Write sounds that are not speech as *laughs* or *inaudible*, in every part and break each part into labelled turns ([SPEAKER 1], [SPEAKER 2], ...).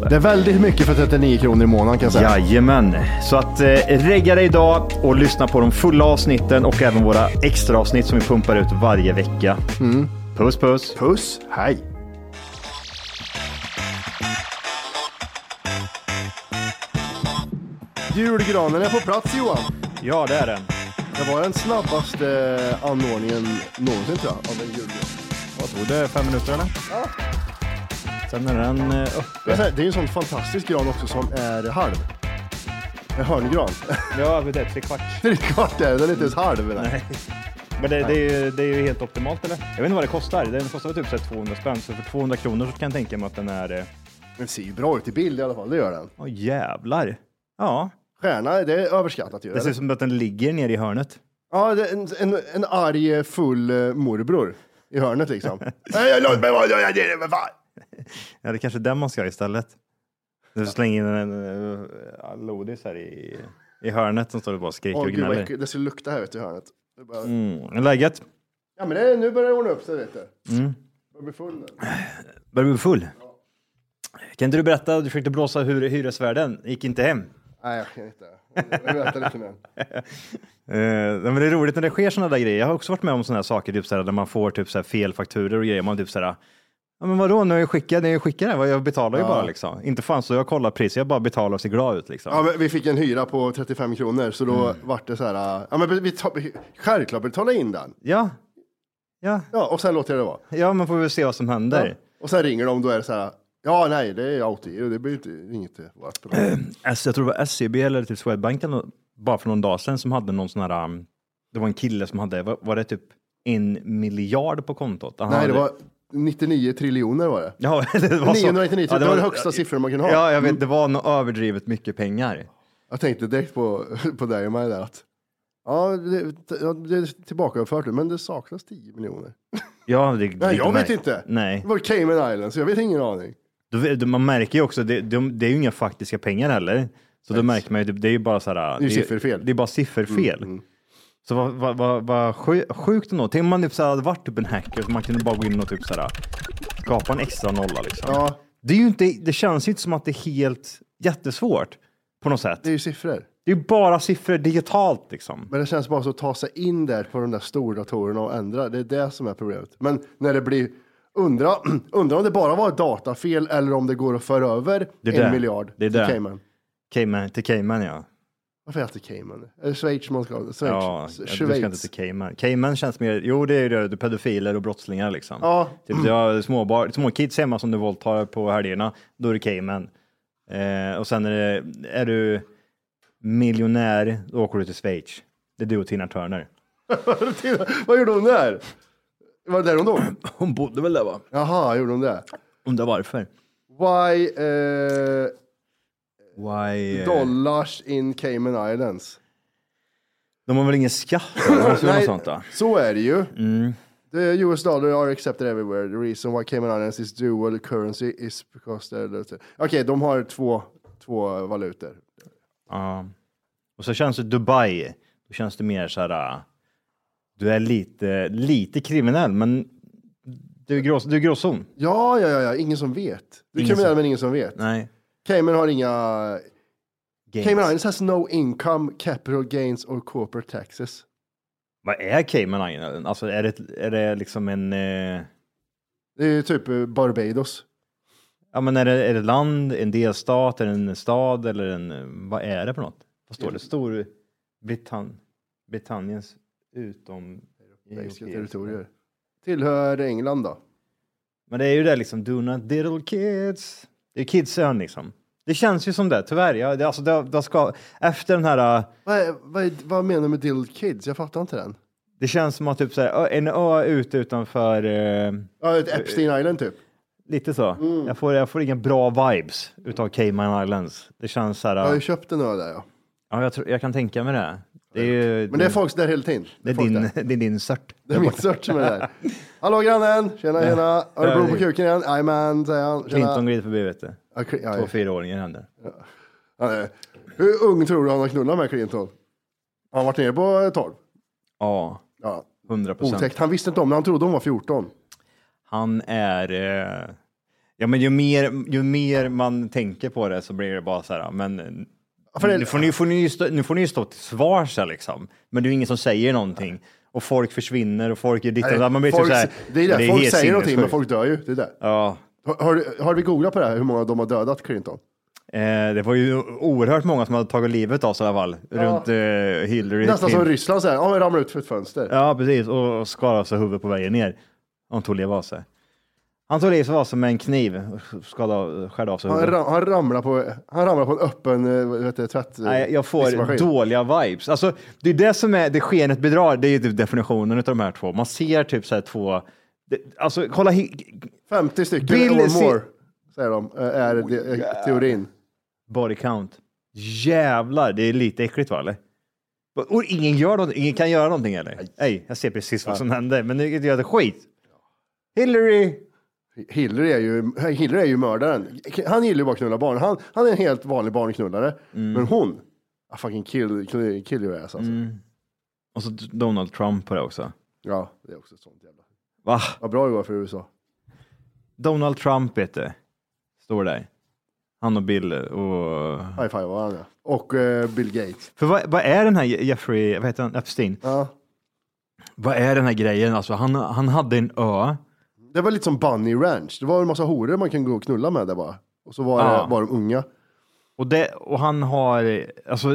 [SPEAKER 1] Det
[SPEAKER 2] det.
[SPEAKER 1] är väldigt mycket för 39 kronor i månaden kan jag säga.
[SPEAKER 2] Jajamän, så att eh, regga dig idag och lyssna på de fulla avsnitten och även våra extra avsnitt som vi pumpar ut varje vecka. Puss puss!
[SPEAKER 1] Puss, hej. Julgranen är på plats Johan.
[SPEAKER 2] Ja, det är den.
[SPEAKER 1] Det var den snabbaste eh, anordningen någonsin tror jag, av en julgran.
[SPEAKER 2] Vad tog det? Fem minuter eller? Ja. Sen är den eh, uppe.
[SPEAKER 1] Jag säger, Det är ju en sån fantastisk gran också som är halv. En hörngran.
[SPEAKER 2] Ja, det är tre kvart.
[SPEAKER 1] Trekvart är det, den är inte
[SPEAKER 2] Mm.
[SPEAKER 1] ens halv. den.
[SPEAKER 2] Men det, det, är ju, det är ju helt optimalt eller? Jag vet inte vad det kostar. Den kostar väl typ så här 200 spänn. Så för 200 kronor så kan jag tänka mig att den är... eh,
[SPEAKER 1] Den ser ju bra ut i bild i alla fall, det gör den.
[SPEAKER 2] Åh jävlar. Ja,
[SPEAKER 1] Stjärna, det är överskattat ju.
[SPEAKER 2] det ser
[SPEAKER 1] eller?
[SPEAKER 2] ut som att den ligger nere i hörnet.
[SPEAKER 1] Ja, det är en, en, en arg full eh, morbror i hörnet
[SPEAKER 2] *laughs*
[SPEAKER 1] liksom. Nej, låt mig vara, jag ger det för fan.
[SPEAKER 2] Ja, det är kanske den man ska ha istället. Du slänger in en eh, ja, lodis här i, i hörnet som står och bara skriker
[SPEAKER 1] Åh
[SPEAKER 2] och
[SPEAKER 1] gud vad
[SPEAKER 2] gnäller.
[SPEAKER 1] äckligt, det skulle lukta här ute i hörnet. Det är bara...
[SPEAKER 2] Mm. Läget?
[SPEAKER 1] Ja men det, nu börjar det ordna upp sig vet du.
[SPEAKER 2] Mm.
[SPEAKER 1] Jag blir full nu.
[SPEAKER 2] Börjar du bli full? Kan inte du berätta, du försökte blåsa hur hyresvärden, gick inte hem.
[SPEAKER 1] Nej jag kan inte. Jag väntar lite mer.
[SPEAKER 2] Eh, nej, men det är roligt när det sker sådana där grejer. Jag har också varit med om sådana här saker, typ såhär, där man får typ såhär, fel fakturer och grejer. Man typ såhär, ja men vadå, nu har jag skickat, nu har jag skickat den, jag betalar ju bara liksom. Inte fan så jag kollar priset, jag bara betalar och ser glad ut liksom.
[SPEAKER 1] Ja, men vi fick en hyra på 35 kronor så då
[SPEAKER 2] Mm.
[SPEAKER 1] vart det så här. äh, Ja men vi tar, självklart betala in den.
[SPEAKER 2] Ja, ja,
[SPEAKER 1] Ja och sen låter jag det vara.
[SPEAKER 2] ja, man får väl se vad som händer.
[SPEAKER 1] Och sen ringer de då är det så här. Ja nej det är autogiro, det blir inte, inget eh, vårt
[SPEAKER 2] *clears throat*
[SPEAKER 1] problem.
[SPEAKER 2] S, jag tror det var SEB eller typ Swedbank eller nå- bara för någon dag sedan som hade någon sån här, um, det var en kille som hade, var, var det typ en miljard på kontot? Han
[SPEAKER 1] Nej
[SPEAKER 2] hade,
[SPEAKER 1] det var 99 triljoner var det.
[SPEAKER 2] Ja, *laughs* det var så.
[SPEAKER 1] 999, typ. Det var det högsta siffran Mm. man kunde ha.
[SPEAKER 2] Ja, jag vet, det var nog överdrivet mycket pengar.
[SPEAKER 1] Jag tänkte direkt på, *laughs* på dig och mig där att. Ja det, ja, det är tillbakaöverfört nu men det saknas 10 miljoner.
[SPEAKER 2] Ja, det,
[SPEAKER 1] Nej jag vet
[SPEAKER 2] märk-
[SPEAKER 1] inte.
[SPEAKER 2] Nej.
[SPEAKER 1] Det var Cayman Islands, jag vet ingen aning.
[SPEAKER 2] Du- du- Man märker ju också, det, de, det är ju inga faktiska pengar heller. Så då märker man ju, det, det är ju bara så här.
[SPEAKER 1] Det är ju sifferfel. Mm,
[SPEAKER 2] Det är bara sifferfel. Så vad vad vad vad sju- sjukt ändå. Tänk om man typ så här hade varit typ en hacker så man kunde bara gå in och typ så här skapa en extra nolla liksom.
[SPEAKER 1] Ja.
[SPEAKER 2] Det, är ju inte, det känns ju inte som att det är helt jättesvårt på något sätt.
[SPEAKER 1] Det är ju siffror.
[SPEAKER 2] Det är ju bara siffror digitalt liksom.
[SPEAKER 1] Men det känns bara så att ta sig in där på de där stora datorerna och ändra. Det är det som är problemet. Men när det blir, undra, *clears throat* undra om det bara var ett datafel eller om det går att föra över
[SPEAKER 2] Det är
[SPEAKER 1] en
[SPEAKER 2] det.
[SPEAKER 1] miljard
[SPEAKER 2] Det är
[SPEAKER 1] till
[SPEAKER 2] det.
[SPEAKER 1] Cayman.
[SPEAKER 2] Cayman, till Cayman ja.
[SPEAKER 1] Varför heter det Cayman? Är det Schweiz man ska ha? Schweiz?
[SPEAKER 2] Ja, du ska inte
[SPEAKER 1] Schweiz.
[SPEAKER 2] till Cayman. Cayman känns mer, jo det är ju det, det är pedofiler och brottslingar liksom.
[SPEAKER 1] Ja.
[SPEAKER 2] Typ,
[SPEAKER 1] *clears throat*
[SPEAKER 2] du har småbar, små kids hemma som du våldtar på helgerna, då är det Cayman. Eh, och sen är, det, är du miljonär, då åker du till Schweiz. Det är du och Tina Turner.
[SPEAKER 1] Vad gjorde hon där? Var det där hon dog?
[SPEAKER 2] Hon bodde väl där va?
[SPEAKER 1] Jaha, gjorde hon det?
[SPEAKER 2] Undrar varför.
[SPEAKER 1] Why eh,
[SPEAKER 2] Why? eh,
[SPEAKER 1] dollars in Cayman Islands?
[SPEAKER 2] *laughs* De har väl ingen skatt? eller något sånt, Mm. va?
[SPEAKER 1] så är det ju. The US dollar are accepted everywhere. The reason why Cayman Islands is dual currency is because they're... Okej, de har två, två valutor.
[SPEAKER 2] Ja. Och så känns det Dubai, då känns det mer så här. äh, Du är lite, lite kriminell, men du är, grås, du är gråzon.
[SPEAKER 1] Ja, ja, ja, ja. ingen som vet. Du är kriminell men ingen som vet.
[SPEAKER 2] Nej.
[SPEAKER 1] Cayman har inga... Cayman Islands has no income, capital gains or corporate taxes.
[SPEAKER 2] Vad är Cayman Island? Alltså är det, är det liksom en... Eh,
[SPEAKER 1] Det är ju typ eh, Barbados.
[SPEAKER 2] ja men är det, är det land, en delstat, är det en stad eller en... eh, Vad är det på något? Vad står det? Stor... Britann, Britanniens utom...
[SPEAKER 1] Europeiska
[SPEAKER 2] europeiska.
[SPEAKER 1] territorier. Tillhör England då.
[SPEAKER 2] Men det är ju det liksom, do not diddle kids. Det är kidsön liksom. Det känns ju som det, tyvärr. Jag, det, alltså, det, det ska, efter den här... äh,
[SPEAKER 1] Vad, är, vad, är, vad menar du med Dill Kids? Jag fattar inte den.
[SPEAKER 2] Det känns som att typ så här, ö- en ö ute utanför... eh,
[SPEAKER 1] Ja, ett Epstein Island typ.
[SPEAKER 2] lite så.
[SPEAKER 1] Mm.
[SPEAKER 2] Jag, får, jag får inga bra vibes utav Cayman Islands. Det känns så här...
[SPEAKER 1] Jag har
[SPEAKER 2] äh,
[SPEAKER 1] ju köpt en ö där ja.
[SPEAKER 2] ja, jag, tror, jag kan tänka mig det. Det är ju...
[SPEAKER 1] Men det är folk där hela tiden.
[SPEAKER 2] Mm. det är
[SPEAKER 1] folk
[SPEAKER 2] din, *laughs*
[SPEAKER 1] där.
[SPEAKER 2] det är din sört.
[SPEAKER 1] Det är min search med det där. Hallå grannen! Tjena tjena! Har du blod på kuken igen? Jajamän, säger han. Tjena.
[SPEAKER 2] Clinton glider förbi, vet du.
[SPEAKER 1] Ja, Cl- ja,
[SPEAKER 2] Två fyraåringar händer.
[SPEAKER 1] ja, nej. Hur ung tror du han har knullat med Clinton? Har han varit nere på 12?
[SPEAKER 2] Ja,
[SPEAKER 1] Ja.
[SPEAKER 2] hundra procent.
[SPEAKER 1] Otäckt. Han visste inte om det, han trodde hon var 14.
[SPEAKER 2] Han är... Eh, ja, men ju mer, ju mer man tänker på det så blir det bara så här, men... eh,
[SPEAKER 1] för det-
[SPEAKER 2] nu, får ni, får ni, ju stå, nu får ni ju stå till svars här liksom. Men det är ju ingen som säger någonting. Och folk försvinner och folk är ditt och datt. Man blir
[SPEAKER 1] folk,
[SPEAKER 2] typ så här,
[SPEAKER 1] det är det,
[SPEAKER 2] men
[SPEAKER 1] folk
[SPEAKER 2] helt
[SPEAKER 1] säger någonting men
[SPEAKER 2] sinnessjukt.
[SPEAKER 1] folk dör ju. Det är det.
[SPEAKER 2] Ja,
[SPEAKER 1] Har, har, du- har vi googlat på det här, hur många de har dödat Clinton?
[SPEAKER 2] eh, det var ju oerhört många som hade tagit livet av sig i alla fall. Runt eh, Hillary.
[SPEAKER 1] Nästan som
[SPEAKER 2] Clinton.
[SPEAKER 1] Ryssland säger, ja men ramlar ut för ett fönster.
[SPEAKER 2] Ja, precis. Och skadade sig huvudet på vägen ner. Han tog livet av sig. Han tog livet av sig med en kniv. och Skadade, skärde av sig
[SPEAKER 1] Han,
[SPEAKER 2] huvudet.
[SPEAKER 1] ram, han, ramlar på, han ramlar på en öppen eh, vad heter det, tvätt...
[SPEAKER 2] Nej, jag får
[SPEAKER 1] diskmaskin.
[SPEAKER 2] dåliga vibes. Alltså, det är det som är, det skenet bedrar, det är ju typ definitionen av de här två. Man ser typ så här två, det, alltså kolla, hi-
[SPEAKER 1] 50 stycken
[SPEAKER 2] Bill
[SPEAKER 1] or
[SPEAKER 2] ser-
[SPEAKER 1] more, säger de, eh, är det- eh, teorin.
[SPEAKER 2] body count. Jävlar, det är lite äckligt va eller? Och ingen, gör något, ingen kan göra någonting eller? Nej, jag ser precis vad som händer, men nu gör det skit. Hillary!
[SPEAKER 1] Hillary är, ju, Hillary är ju mördaren. Han gillar ju bara att knulla barn. Han, han är en helt vanlig barnknullare. Men hon, I fucking kill, kill, kill your ass alltså.
[SPEAKER 2] Och så Donald Trump på det också.
[SPEAKER 1] Ja, det är också ett sånt jävla...
[SPEAKER 2] Va?
[SPEAKER 1] Vad bra det går för USA.
[SPEAKER 2] Donald Trump heter det. Står där. Han och Bill och...
[SPEAKER 1] High five var han ja. Och eh, Bill Gates.
[SPEAKER 2] För vad, vad är den här Jeffrey, vad heter han, Epstein?
[SPEAKER 1] Ja.
[SPEAKER 2] Vad är den här grejen? Alltså, han, han hade en ö.
[SPEAKER 1] Det var lite som Bunny Ranch. Det var en massa horor man kan gå och knulla med där bara. Och så var,
[SPEAKER 2] Ja.
[SPEAKER 1] det, var de unga.
[SPEAKER 2] Och, det, och han har... Alltså,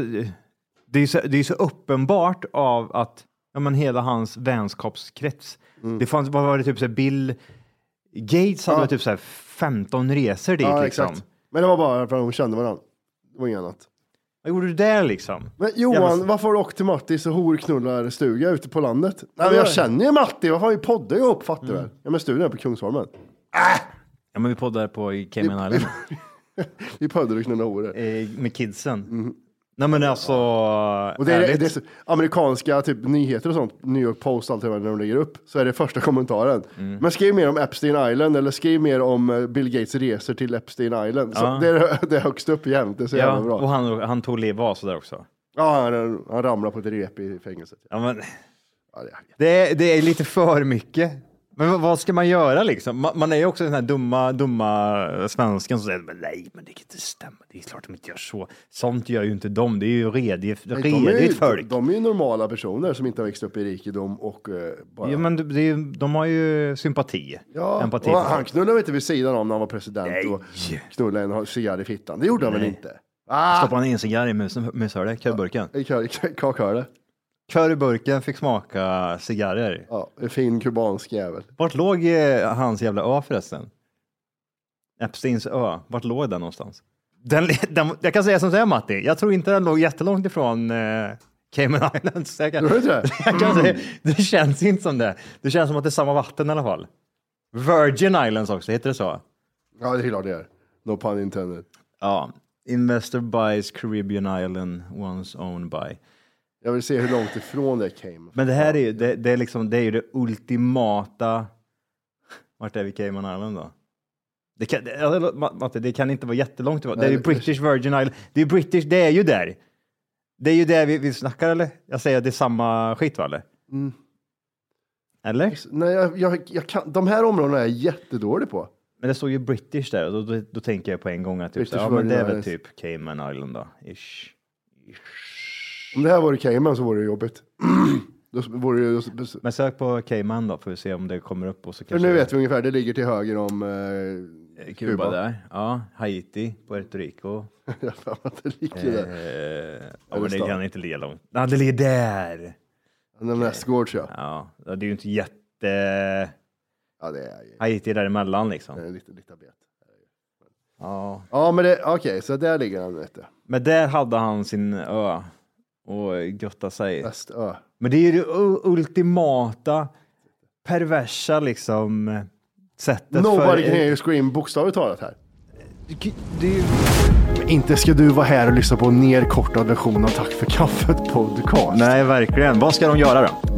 [SPEAKER 2] det, är så, det är så uppenbart av att ja, men hela hans vänskapskrets. Det fanns, vad var det, typ så här, Bill Gates hade
[SPEAKER 1] Mm. Ja.
[SPEAKER 2] väl typ så här 15 resor dit. liksom.
[SPEAKER 1] Men det var bara för att de kände varandra. Det var inget annat.
[SPEAKER 2] Vad gjorde du där liksom?
[SPEAKER 1] Men Johan,
[SPEAKER 2] Jävla-
[SPEAKER 1] varför har du åkt till Mattis och horknullar stuga ute på landet? Nej, men jag känner ju Matti. Vad fan, vi poddar ju upp, fattar du väl?
[SPEAKER 2] Mm.
[SPEAKER 1] Ja, men stugan är på Kungsholmen.
[SPEAKER 2] Ja, men vi poddar på i Cayman Island
[SPEAKER 1] *laughs* Vi poddar och knullar horor.
[SPEAKER 2] eh, med kidsen. Nej, men alltså...
[SPEAKER 1] Mm. Och det är,
[SPEAKER 2] ärligt.
[SPEAKER 1] det är så, amerikanska typ, nyheter och sånt, New York Post, allt det där när de lägger upp, så är det första kommentaren.
[SPEAKER 2] Mm.
[SPEAKER 1] Men skriv mer om Epstein Island eller skriv mer om eh, Bill Gates resor till Epstein Island. Så
[SPEAKER 2] Ja.
[SPEAKER 1] det, är, *laughs* det är högst upp jämt, det är så
[SPEAKER 2] ja,
[SPEAKER 1] jävla bra.
[SPEAKER 2] och han, han tog livet av sig där också.
[SPEAKER 1] Ja, han, han ramlar på ett rep i fängelset.
[SPEAKER 2] Ja, men...
[SPEAKER 1] Ja, det är,
[SPEAKER 2] Det är, det är lite för mycket. Men vad- vad ska man göra liksom? Man, man är ju också den här dumma, dumma svensken som säger "Men nej, men det kan inte stämma. Det är klart de inte gör så. Sånt gör ju inte de. Det är ju redigt,
[SPEAKER 1] Nej, de, är ju,
[SPEAKER 2] redigt folk.
[SPEAKER 1] de är ju normala personer som inte har växt upp i rikedom och eh, bara...
[SPEAKER 2] Ja, men det, det, är- de har ju sympati.
[SPEAKER 1] Ja,
[SPEAKER 2] Empati.
[SPEAKER 1] och
[SPEAKER 2] för
[SPEAKER 1] han
[SPEAKER 2] folk.
[SPEAKER 1] knullade väl inte vid sidan om när han var president
[SPEAKER 2] Nej.
[SPEAKER 1] och knullade en cigarr i fittan. Det gjorde han väl inte? Ah!
[SPEAKER 2] Stoppade han in en cigarr i musen- mushålet, körburken.
[SPEAKER 1] I kör- *laughs* i Kakhörde.
[SPEAKER 2] Körburken fick smaka cigarrer.
[SPEAKER 1] Ja, en fin kubansk jävel.
[SPEAKER 2] Vart låg eh, hans jävla ö förresten? Epsteins ö, vart låg den någonstans? Den, *laughs* den, jag kan säga som säger Matti, jag tror inte den låg jättelångt ifrån eh, Cayman *laughs* Islands. Jag kan,
[SPEAKER 1] Tror du inte
[SPEAKER 2] *laughs*
[SPEAKER 1] det?
[SPEAKER 2] jag kan säga, det känns inte som det. Det känns som att det är samma vatten i alla fall. Virgin Islands också, heter det så?
[SPEAKER 1] Ja, det är klart det är. No pun intended.
[SPEAKER 2] Ja. Investor buys Caribbean island, once owned by.
[SPEAKER 1] Jag vill se hur långt ifrån det came.
[SPEAKER 2] Men det här är ju det, det är liksom, det, är ju det ultimata... Vart är vi Cayman Island då? Det kan, det, ja, Ma- Matte, det kan inte vara jättelångt ifrån. Det är ju
[SPEAKER 1] Nej, det-
[SPEAKER 2] British Virgin Island. Det är ju British, det är ju där. Det är ju där vi, vi snackar eller? Jag säger att det är samma skit va eller?
[SPEAKER 1] Mm.
[SPEAKER 2] Eller?
[SPEAKER 1] Nej, jag, jag, jag kan, de här områdena är jag jättedålig på.
[SPEAKER 2] Men det står ju British där och då, då, då tänker jag på en gång att typ, så,
[SPEAKER 1] British
[SPEAKER 2] ja, men
[SPEAKER 1] Virgin
[SPEAKER 2] det är väl
[SPEAKER 1] Islands.
[SPEAKER 2] typ Cayman Island då, ish.
[SPEAKER 1] Om det här vore Cayman så vore det jobbigt. *clears throat* då vore det, då,
[SPEAKER 2] Men sök på Cayman då får vi se om det kommer upp och så
[SPEAKER 1] för
[SPEAKER 2] kanske
[SPEAKER 1] nu vet vi ungefär, det ligger till höger om eh,
[SPEAKER 2] Kuba, där. Ja, Haiti, Puerto Rico.
[SPEAKER 1] *laughs* Jag har för mig att det ligger där.
[SPEAKER 2] Eh, ja, men det
[SPEAKER 1] stan.
[SPEAKER 2] kan inte ligga långt. Ja, det ligger där.
[SPEAKER 1] Den nästgårds ja.
[SPEAKER 2] Ja, det är ju inte jätte...
[SPEAKER 1] Ja, det är ju
[SPEAKER 2] Haiti är däremellan liksom.
[SPEAKER 1] eh, lite, lite bet.
[SPEAKER 2] Ja.
[SPEAKER 1] Ja, men det, okej, så där ligger han ute.
[SPEAKER 2] Men där hade han sin ö och götta sig.
[SPEAKER 1] Västö.
[SPEAKER 2] Men det är ju det u- ultimata perversa liksom sättet
[SPEAKER 1] Nobody
[SPEAKER 2] för...
[SPEAKER 1] can hear you scream, bokstavligt talat här.
[SPEAKER 2] Det är ju...
[SPEAKER 1] Inte ska du vara här och lyssna på en nerkortad version av Tack för kaffet podcast.
[SPEAKER 2] Nej, verkligen. Vad ska de göra då?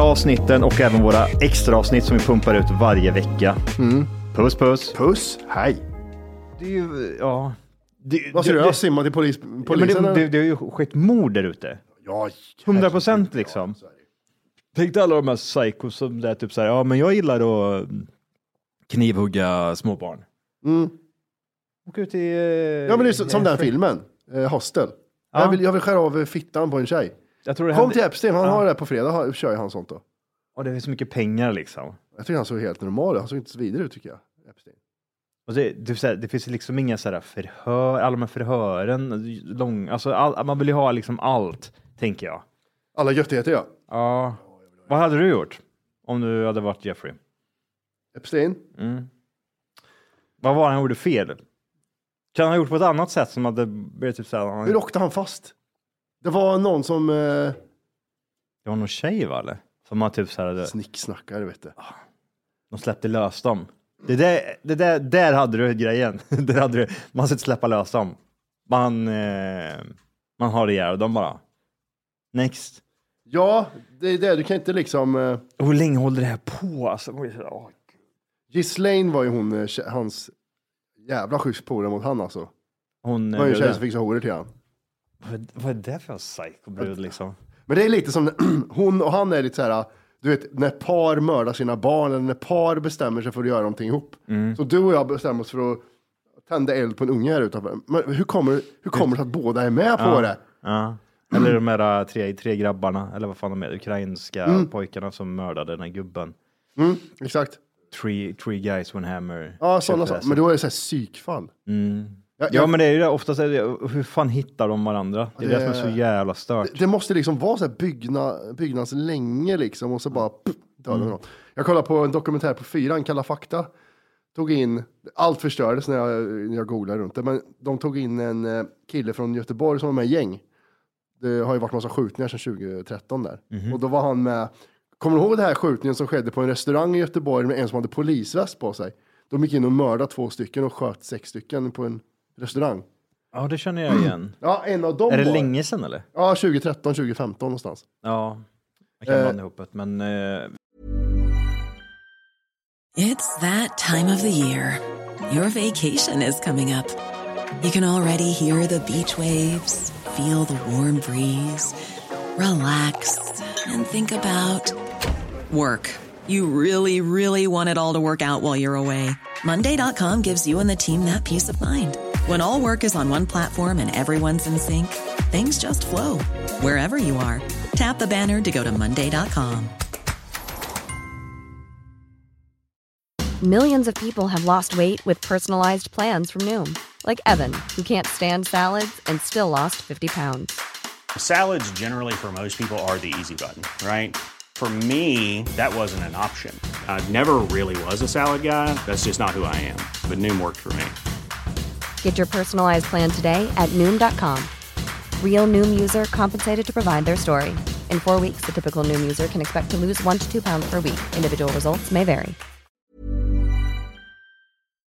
[SPEAKER 2] avsnitten och även våra extra avsnitt som vi pumpar ut varje vecka. Puss puss.
[SPEAKER 1] Puss, hej.
[SPEAKER 2] Det är ju, ja. Det,
[SPEAKER 1] Vad ska du göra? Simma till polis,
[SPEAKER 2] Ja, men
[SPEAKER 1] polisen?
[SPEAKER 2] det, det,
[SPEAKER 1] eller?
[SPEAKER 2] det har ju skett mord där ute.
[SPEAKER 1] Ja,
[SPEAKER 2] 100 procent liksom. Tänk dig alla de här psykos som där typ så här, ja men jag gillar att knivhugga småbarn.
[SPEAKER 1] Mm.
[SPEAKER 2] Åk ut i...
[SPEAKER 1] Ja, men det är så- som den filmen, eh, Hostel.
[SPEAKER 2] Ja.
[SPEAKER 1] Jag, vill, jag vill skära av eh, fittan på en tjej.
[SPEAKER 2] Jag tror det
[SPEAKER 1] Kom
[SPEAKER 2] händer...
[SPEAKER 1] till Epstein, han
[SPEAKER 2] Ja.
[SPEAKER 1] har det här på fredag, han- kör ju han sånt då.
[SPEAKER 2] Och det är så mycket pengar liksom.
[SPEAKER 1] Jag tycker han såg helt normal ut, han såg inte så vidare ut tycker jag. Epstein.
[SPEAKER 2] Och det, typ så här, det finns liksom inga så här förhör, alla de här förhören, lång, alltså all, man vill ju ha liksom allt, tänker jag.
[SPEAKER 1] Alla göttigheter ja.
[SPEAKER 2] Ja. Vad hade du gjort om du hade varit Jeffrey?
[SPEAKER 1] Epstein,
[SPEAKER 2] Mm. Vad var det han gjorde fel? Kan han ha gjort på ett annat sätt som hade blivit typ så här, han,
[SPEAKER 1] hur åkte han fast? Det var någon som eh,
[SPEAKER 2] det var någon tjej va eller? Som han typ så här, hade,
[SPEAKER 1] snicksnackade vet du.
[SPEAKER 2] de släppte lös dem. Det där, det där, där hade du grejen. *laughs* där hade du, man ska inte släppa lös dem. Man, eh, man har ihjäl dem bara. Next.
[SPEAKER 1] Ja, det är det, du kan inte liksom... Eh,
[SPEAKER 2] Och Hur länge håller det här på? Alltså, man blir så här, åh.
[SPEAKER 1] Ghislaine var ju hon, eh, tje- hans jävla schysst polare mot han alltså.
[SPEAKER 2] hon, eh,
[SPEAKER 1] Det var ju en tjej
[SPEAKER 2] bruden.
[SPEAKER 1] som fixade horor till han.
[SPEAKER 2] vad, vad är det för en psykobrud liksom?
[SPEAKER 1] Men det är lite som *clears throat* hon och han är lite så här, du vet när par mördar sina barn eller när par bestämmer sig för att göra någonting ihop. Så du och jag bestämmer oss för att tända eld på en unge här utanför. Men hur kommer, hur kommer det sig att båda är med på det?
[SPEAKER 2] Ja. Eller de här eh, tre, tre grabbarna, eller vad fan de är, ukrainska pojkarna som mördade den här gubben.
[SPEAKER 1] Mm, exakt.
[SPEAKER 2] Three, three guys, one hammer.
[SPEAKER 1] Ja, sådana
[SPEAKER 2] Köttfärs.
[SPEAKER 1] saker. Men då är det så här psykfall. Ja,
[SPEAKER 2] alltså. Ja,
[SPEAKER 1] jag-
[SPEAKER 2] men det är ju det. Oftast är det, hur fan hittar de varandra? Det är det, som
[SPEAKER 1] Eh.
[SPEAKER 2] är så jävla stört.
[SPEAKER 1] Det måste liksom vara så här byggna, byggnads länge liksom och så bara pff, dödar mm. Jag kollade på en dokumentär på fyran, Kalla fakta. Tog in, allt förstördes när jag, när jag googlade runt det, men de tog in en eh, kille från Göteborg som var med i gäng. Det har ju varit massa skjutningar sedan 2013 där.
[SPEAKER 2] Mhm.
[SPEAKER 1] Och då var han med, kommer du ihåg den här skjutningen som skedde på en restaurang i Göteborg med en som hade polisväst på sig? De gick in och mördade två stycken och sköt sex stycken på en restaurang.
[SPEAKER 2] Ja, det känner jag igen.
[SPEAKER 1] Ja, en av dem
[SPEAKER 2] är det
[SPEAKER 1] var-
[SPEAKER 2] länge sedan eller?
[SPEAKER 1] Ja, 2013, 2015 någonstans.
[SPEAKER 2] Ja, jag kan
[SPEAKER 1] Eh.
[SPEAKER 2] blanda ihop det, men eh,
[SPEAKER 3] It's that time of the year. Your vacation is coming up. You can already hear the beach waves, feel the warm breeze, relax, and think about work. You really, really want it all to work out while you're away. Monday.com gives you and the team that peace of mind. When all work is on one platform and everyone's in sync, things just flow wherever you are. Tap the banner to go to Monday.com.
[SPEAKER 4] Millions of people have lost weight with personalized plans from Noom, like Evan, who can't stand salads and still lost 50 pounds.
[SPEAKER 5] Salads, generally, for most people, are the easy button, right? For me, that wasn't an option. I never really was a salad guy. That's just not who I am. But Noom worked for me.
[SPEAKER 4] Get your personalized plan today at Noom.com. Real Noom user compensated to provide their story. In four weeks, the typical Noom user can expect to lose one to two pounds per week. Individual results may vary.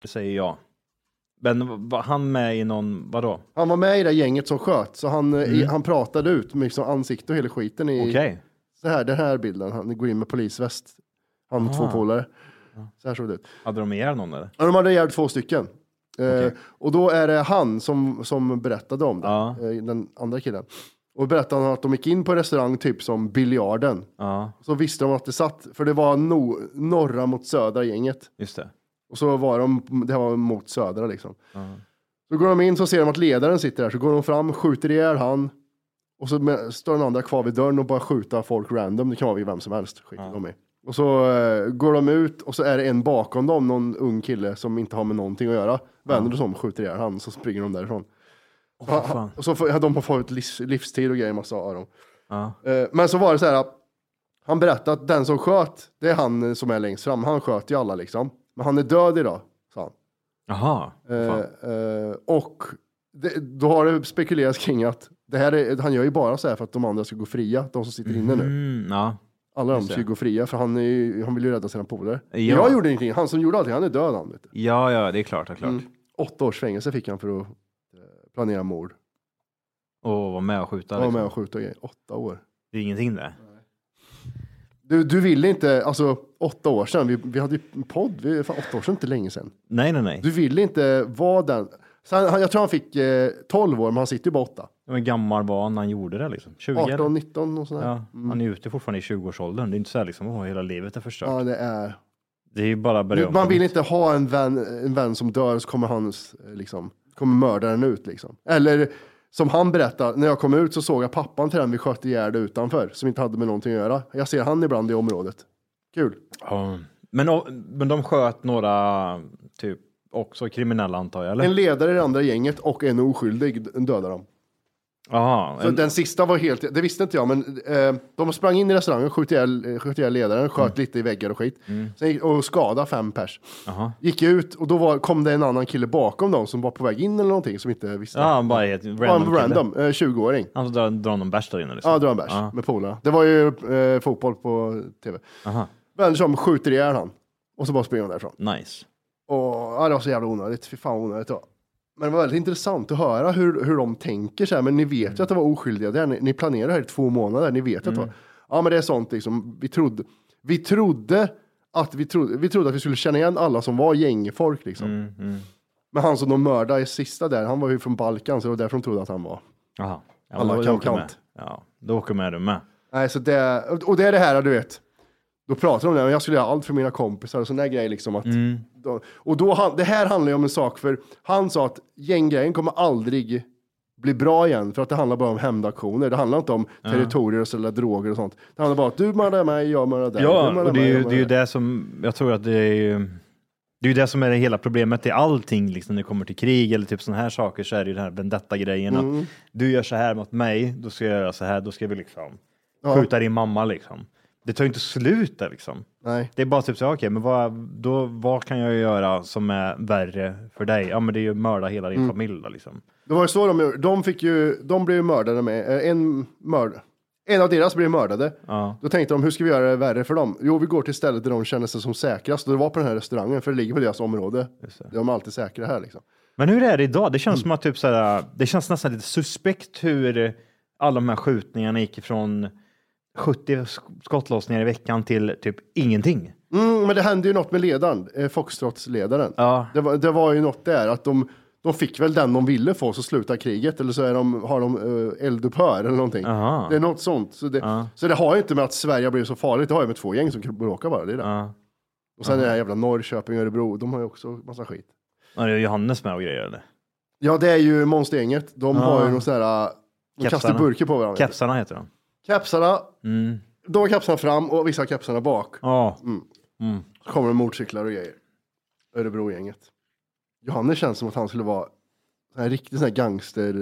[SPEAKER 2] Det säger jag. Men var han med i någon, vadå?
[SPEAKER 1] Han var med i det gänget som sköt, så han, eh, i, han pratade ut med liksom ansikte och hela skiten i
[SPEAKER 2] Mm. Okej.
[SPEAKER 1] så här, den här bilden. Han går in med polisväst. Han och två
[SPEAKER 2] Ah.
[SPEAKER 1] polare. Så här såg det ut.
[SPEAKER 2] Hade de ihjäl någon eller?
[SPEAKER 1] Ja, de hade ihjäl två stycken. Eh, och då är det han som, som berättade om det,
[SPEAKER 2] Ja.
[SPEAKER 1] eh, den andra killen. Och berättade han att de gick in på en restaurang typ som Biljarden.
[SPEAKER 2] Ja,
[SPEAKER 1] Så visste de att det satt, för det var no, norra mot södra gänget.
[SPEAKER 2] just det.
[SPEAKER 1] Och så var de, det här var mot södra liksom. Så går de in så ser de att ledaren sitter där, så går de fram, skjuter ihjäl han. Och så med, står den andra kvar vid dörren och bara skjuta folk random, det kan vara vid vem som helst. Skiter de i. Och så eh, går de ut och så är det en bakom dem, någon ung kille som inte har med någonting att göra. Vänder sig om, skjuter ihjäl han, så springer de därifrån.
[SPEAKER 2] Åh, fan.
[SPEAKER 1] Och så får, ja, de har fått livs, livstid och grejer, massa av dem.
[SPEAKER 2] Ja.
[SPEAKER 1] Eh, Men så var det så här, han berättade att den som sköt, det är han eh, som är längst fram. Han sköt ju alla liksom. Men han är död idag, sa han.
[SPEAKER 2] Jaha.
[SPEAKER 1] Eh,
[SPEAKER 2] Fan.
[SPEAKER 1] eh, och det, då har det spekulerats kring att det här är, han gör ju bara så här för att de andra ska gå fria, de som sitter inne nu.
[SPEAKER 2] Mm, ja.
[SPEAKER 1] Alla de
[SPEAKER 2] just
[SPEAKER 1] ska
[SPEAKER 2] det.
[SPEAKER 1] ju gå fria för han, är ju, han vill ju rädda sina polare.
[SPEAKER 2] Ja.
[SPEAKER 1] Jag gjorde ingenting, han som gjorde allting, han är död han. Vet du.
[SPEAKER 2] ja, ja, det är klart. Det är klart.
[SPEAKER 1] Mm. Åtta års fängelse fick han för att eh, planera mord.
[SPEAKER 2] Och vara med och skjuta.
[SPEAKER 1] Han var
[SPEAKER 2] Liksom.
[SPEAKER 1] med och skjuta och grejer. Åtta år.
[SPEAKER 2] Det är ingenting det.
[SPEAKER 1] Du, du ville inte, alltså åtta år sedan, vi, vi hade ju en podd, vi, fan, åtta år sedan är inte länge sedan.
[SPEAKER 2] Nej, nej, nej.
[SPEAKER 1] Du ville inte vara den. Så han, han- jag tror han fick eh, 12 år, men han sitter ju bara 8.
[SPEAKER 2] Hur gammal var han när han gjorde det liksom? 20? eller?
[SPEAKER 1] 18, 19 och sådär.
[SPEAKER 2] Ja, han är ute fortfarande i 20-årsåldern. Det är inte så här liksom, åh, hela livet är förstört.
[SPEAKER 1] Ja, det är.
[SPEAKER 2] Det är ju bara att börja
[SPEAKER 1] Du,
[SPEAKER 2] om
[SPEAKER 1] man
[SPEAKER 2] på
[SPEAKER 1] vill
[SPEAKER 2] nytt.
[SPEAKER 1] inte ha en vän, en vän som dör så kommer hans, eh, liksom, kommer mördaren ut liksom. Eller som han berättade, när jag kom ut så såg jag pappan till den vi sköt ihjäl utanför, som inte hade med någonting att göra. Jag ser han ibland i området. Kul.
[SPEAKER 2] Ja. Men, och- men de sköt några, typ, också kriminella antar jag, eller?
[SPEAKER 1] En ledare i det andra gänget och en oskyldig d- dödar dem.
[SPEAKER 2] Jaha,
[SPEAKER 1] Så
[SPEAKER 2] en,
[SPEAKER 1] den sista var helt, det visste inte jag, men eh, de sprang in i restaurangen, sköt ihjäl, eh, sköt ihjäl ledaren,
[SPEAKER 2] Mm.
[SPEAKER 1] sköt lite i väggar och skit. Sen gick, och skadade fem pers.
[SPEAKER 2] Jaha.
[SPEAKER 1] Gick ut och då var, kom det en annan kille bakom dem som var på väg in eller någonting som inte visste.
[SPEAKER 2] ja, han bara är ett
[SPEAKER 1] Det var
[SPEAKER 2] Ah, random,
[SPEAKER 1] en
[SPEAKER 2] random.
[SPEAKER 1] random, eh, 20-åring.
[SPEAKER 2] Han som drar, drar någon bärs där inne liksom.
[SPEAKER 1] Ja, drar en bärs
[SPEAKER 2] Ja.
[SPEAKER 1] med polarna. Det var ju eh, fotboll på tv.
[SPEAKER 2] Aha.
[SPEAKER 1] Vänder sig om, skjuter ihjäl han. Och så bara springer han därifrån.
[SPEAKER 2] Nice.
[SPEAKER 1] Och, ja, det var så jävla onödigt. Fy fan vad onödigt det var. Men det var väldigt intressant att höra hur, hur de tänker så här. Men ni vet ju att det var oskyldiga där. Ni, ni planerar det här i två månader. Ni vet ju att det var. Ja, men det är sånt liksom. Vi trodde, vi trodde att vi trodde, vi trodde att vi skulle känna igen alla som var gängfolk liksom. Men han som de mördade i sista där, han var ju från Balkan, så det var därför de trodde att han var.
[SPEAKER 2] Jaha. Ja,
[SPEAKER 1] Alla
[SPEAKER 2] då- då
[SPEAKER 1] kan
[SPEAKER 2] åker jag med.
[SPEAKER 1] kant.
[SPEAKER 2] Ja, då åker med du med.
[SPEAKER 1] Nej, så det, och det är det här, du vet. Då pratar de om det, men jag skulle göra allt för mina kompisar och sån där grej. Liksom att,
[SPEAKER 2] Mm.
[SPEAKER 1] då, och då, han- det här handlar ju om en sak, för han sa att gänggrejen kommer aldrig bli bra igen, för att det handlar bara om hämndaktioner. Det handlar inte om territorier och sälja droger och sånt. Det handlar bara om att du mördar mig, jag mördar dig. du
[SPEAKER 2] Ja,
[SPEAKER 1] mördar
[SPEAKER 2] och det är,
[SPEAKER 1] mig,
[SPEAKER 2] ju,
[SPEAKER 1] jag
[SPEAKER 2] det är ju
[SPEAKER 1] mördar dig.
[SPEAKER 2] det som, jag tror att det är ju, det är ju det som är det hela problemet i allting, liksom när det kommer till krig eller typ sådana här saker så är det ju den här vendetta-grejen. Att du gör så här mot mig, då ska jag göra så här, då ska vi liksom skjuta din mamma liksom. Det tar ju inte slut där liksom.
[SPEAKER 1] Nej.
[SPEAKER 2] Det är bara typ så, här, okej, men vad, då, vad kan jag göra som är värre för dig? Ja, men det är ju att mörda hela din
[SPEAKER 1] Mm.
[SPEAKER 2] familj då, liksom.
[SPEAKER 1] Det var ju så de gjorde. De, fick ju, de blev ju mördade med, eh, en mörd, en av deras blev mördade.
[SPEAKER 2] Ja.
[SPEAKER 1] Då tänkte de, hur ska vi göra det värre för dem? Jo, vi går till stället där de känner sig som säkrast. Och det var på den här restaurangen, för det ligger på deras område. De är alltid säkra här liksom.
[SPEAKER 2] Men hur är det idag? Det känns
[SPEAKER 1] Mm.
[SPEAKER 2] som att typ så här, det känns nästan lite suspekt hur alla de här skjutningarna gick ifrån 70 sk- skottlossningar i veckan till typ ingenting.
[SPEAKER 1] Mm, men det hände ju något med ledaren, eh, Foxtrots-ledaren.
[SPEAKER 2] Ja.
[SPEAKER 1] Det, var, det var ju något där, att de, de fick väl den de ville få, så slutar kriget. Eller så är de, har de eh, eldupphör eller någonting.
[SPEAKER 2] Aha.
[SPEAKER 1] Det är något sånt. Så det, så det har ju inte med att Sverige har blivit så farligt, det har ju med två gäng som bråkar bara. Det är det.
[SPEAKER 2] Ja.
[SPEAKER 1] Och sen är det här jävla Norrköping och Örebro, de har ju också massa skit.
[SPEAKER 2] Ja, det är Johannes med och grejer eller?
[SPEAKER 1] Ja, det är ju monstergänget. De har
[SPEAKER 2] Ja.
[SPEAKER 1] ju någon sån här... eh, De kastar
[SPEAKER 2] Kepsarna.
[SPEAKER 1] burkar på varandra.
[SPEAKER 2] Kepsarna heter de.
[SPEAKER 1] Kepsarna,
[SPEAKER 2] Mm.
[SPEAKER 1] de har kepsarna fram och vissa har kepsarna bak.
[SPEAKER 2] Ja,
[SPEAKER 1] Mm. Så kommer det motorcyklar och grejer. Örebro-gänget. Johannes känns som att han skulle vara en riktig sån här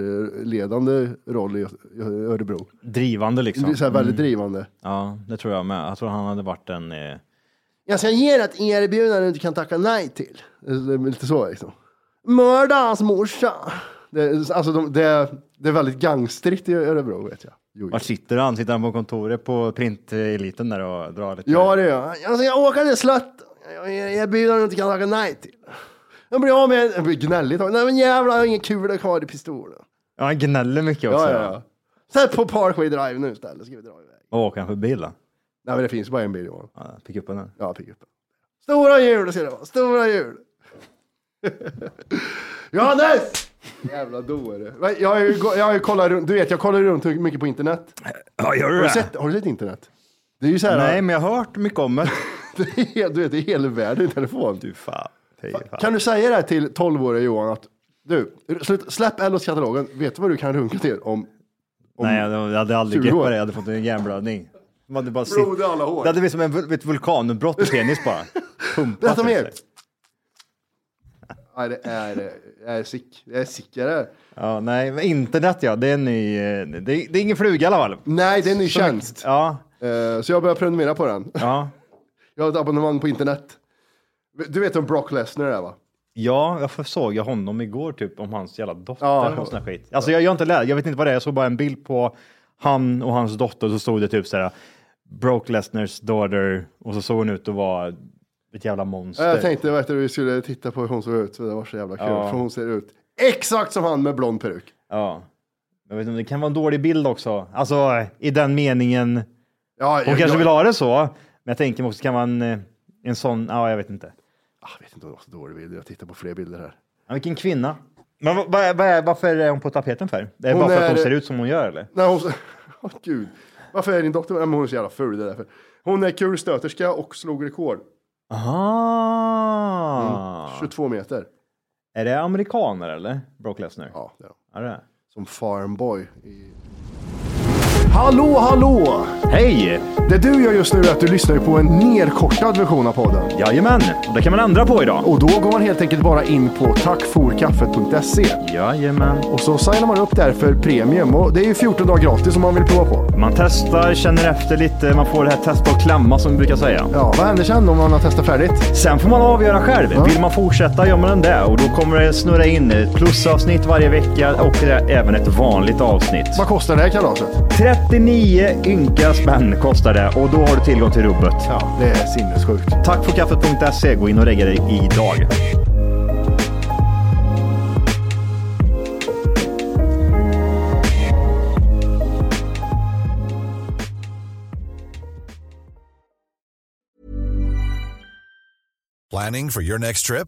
[SPEAKER 1] gangsterledande roll i Ö- i Örebro.
[SPEAKER 2] Drivande
[SPEAKER 1] Det blir
[SPEAKER 2] liksom.
[SPEAKER 1] så här väldigt drivande.
[SPEAKER 2] Ja, det tror jag med. Jag tror han hade varit en... Eh,
[SPEAKER 1] Jag ska ge dig ett erbjudande du inte kan tacka nej till. Det är Lite så liksom. Mörda hans morsa. Det, är- alltså de, det, är- det är väldigt gangstrigt i Örebro vet jag. Jo, jo.
[SPEAKER 2] vart sitter han? Sitter han på kontoret på printeliten där och drar lite?
[SPEAKER 1] Ja det gör jag. Jag ska åka till slott. Jag ger erbjudande du inte kan tacka nej till. Jag blir av med en... blir gnällig. Nej men jävlar jag har ingen kula kvar i pistolen.
[SPEAKER 2] Ja, han gnäller mycket också.
[SPEAKER 1] Ja, ja, ja. Sätt på Parkway Drive nu istället ska vi dra iväg.
[SPEAKER 2] Vad åker han för bil då?
[SPEAKER 1] Nej men det finns bara en bil Johan.
[SPEAKER 2] Ja, pick upp den.
[SPEAKER 1] Ja, pickupen. Stora hjul ska det vara, stora hjul. Johannes! Jävla dåre. Men Jag har ju, gå- jag har ju kollat runt, du vet jag kollar runt mycket på internet.
[SPEAKER 2] Ja, gör
[SPEAKER 1] Har du sett, har du sett internet? Det är ju så här,
[SPEAKER 2] Nej, men jag har hört mycket om det.
[SPEAKER 1] *laughs* det är, helt- du vet det är hela världen i telefon. typ.
[SPEAKER 2] du fan. *laughs* Fy fan.
[SPEAKER 1] Kan du säga det här till 12-åriga Johan att du, slut, släpp Ellos katalogen, vet du vad du kan runka till om
[SPEAKER 2] Nej, jag jag hade aldrig
[SPEAKER 1] 20 år?
[SPEAKER 2] greppat det. Jag hade fått en hjärnblödning. Man hade bara sitt-
[SPEAKER 1] Blod i alla hår.
[SPEAKER 2] Det hade blivit som en, vul- ett vulkanutbrott i penis
[SPEAKER 1] *laughs*
[SPEAKER 2] bara. Pumpat
[SPEAKER 1] Berätta
[SPEAKER 2] ur
[SPEAKER 1] mer!
[SPEAKER 2] sig.
[SPEAKER 1] Nej, det är, det är sick, det är sick är det.
[SPEAKER 2] Ja, nej, men internet ja. Det är en ny... eh, Det, det är ingen fluga i alla fall.
[SPEAKER 1] Nej, det är en ny tjänst.
[SPEAKER 2] Ja,
[SPEAKER 1] Eh, Så jag börjar prenumerera på den.
[SPEAKER 2] ja.
[SPEAKER 1] Jag har ett abonnemang på internet. Du vet vem Brock Lesnar är va?
[SPEAKER 2] Ja, jag såg jag honom igår typ om hans jävla dotter
[SPEAKER 1] Ja.
[SPEAKER 2] eller någon sån här skit. Alltså jag, jag har inte läst, jag vet inte vad det är. Jag såg bara en bild på han och hans dotter och så stod det typ så här Broke Lesners daughter och så såg hon ut att vara ett jävla monster.
[SPEAKER 1] Jag tänkte vet du, vi skulle titta på hur hon såg ut, så det var så jävla kul.
[SPEAKER 2] Ja.
[SPEAKER 1] För hon ser ut exakt som han med blond peruk.
[SPEAKER 2] Ja. Jag vet inte, det kan vara en dålig bild också. Alltså i den meningen. Hon
[SPEAKER 1] Ja, jag,
[SPEAKER 2] kanske
[SPEAKER 1] jag,
[SPEAKER 2] vill ha det så, men jag tänker mig också kan vara en, eh, en sån, ja jag vet inte.
[SPEAKER 1] Ah, Jag vet inte om det var så dålig bild, jag tittar på fler bilder här.
[SPEAKER 2] Ja, vilken kvinna. Men vad, vad, är- vad är, varför är hon på tapeten för? Det är
[SPEAKER 1] Hon
[SPEAKER 2] bara för att hon
[SPEAKER 1] är- Mm.
[SPEAKER 2] ser ut som hon gör eller?
[SPEAKER 1] Nej, hon... *laughs* Åh gud. Varför är din dotter... Nej, men hon är så jävla ful, det är därför. Hon är kulstöterska och slog rekord.
[SPEAKER 2] Aha!
[SPEAKER 1] 22 meter.
[SPEAKER 2] Är det amerikaner eller? Brock Lesnar?
[SPEAKER 1] Ja, det är hon.
[SPEAKER 2] Är det?
[SPEAKER 1] Som farmboy. I... Hallå, hallå!
[SPEAKER 2] Hej!
[SPEAKER 1] Det du gör just nu är att du lyssnar ju på en nerkortad version av podden.
[SPEAKER 2] Jajamän! Och det kan man ändra på idag.
[SPEAKER 1] Och då går man helt enkelt bara in på tackforkaffet.se
[SPEAKER 2] Jajamän.
[SPEAKER 1] och så signar man upp där för premium och det är ju 14 dagar gratis om man vill prova på.
[SPEAKER 2] Man testar, känner efter lite, man får det här testa och klämma som vi brukar säga.
[SPEAKER 1] Ja, vad händer sen om man har testat färdigt?
[SPEAKER 2] Sen får man avgöra själv. Vill man fortsätta gör man det och då kommer det snurra in ett plusavsnitt varje vecka och det är även ett vanligt avsnitt.
[SPEAKER 1] Vad kostar det här kalaset?
[SPEAKER 2] 39 ynka spänn kostar det och då har du tillgång till rubbet.
[SPEAKER 1] Ja, det är sinnessjukt.
[SPEAKER 2] Tack för kaffet.se. E. Gå in och lägg dig idag.
[SPEAKER 6] Planning for your next trip?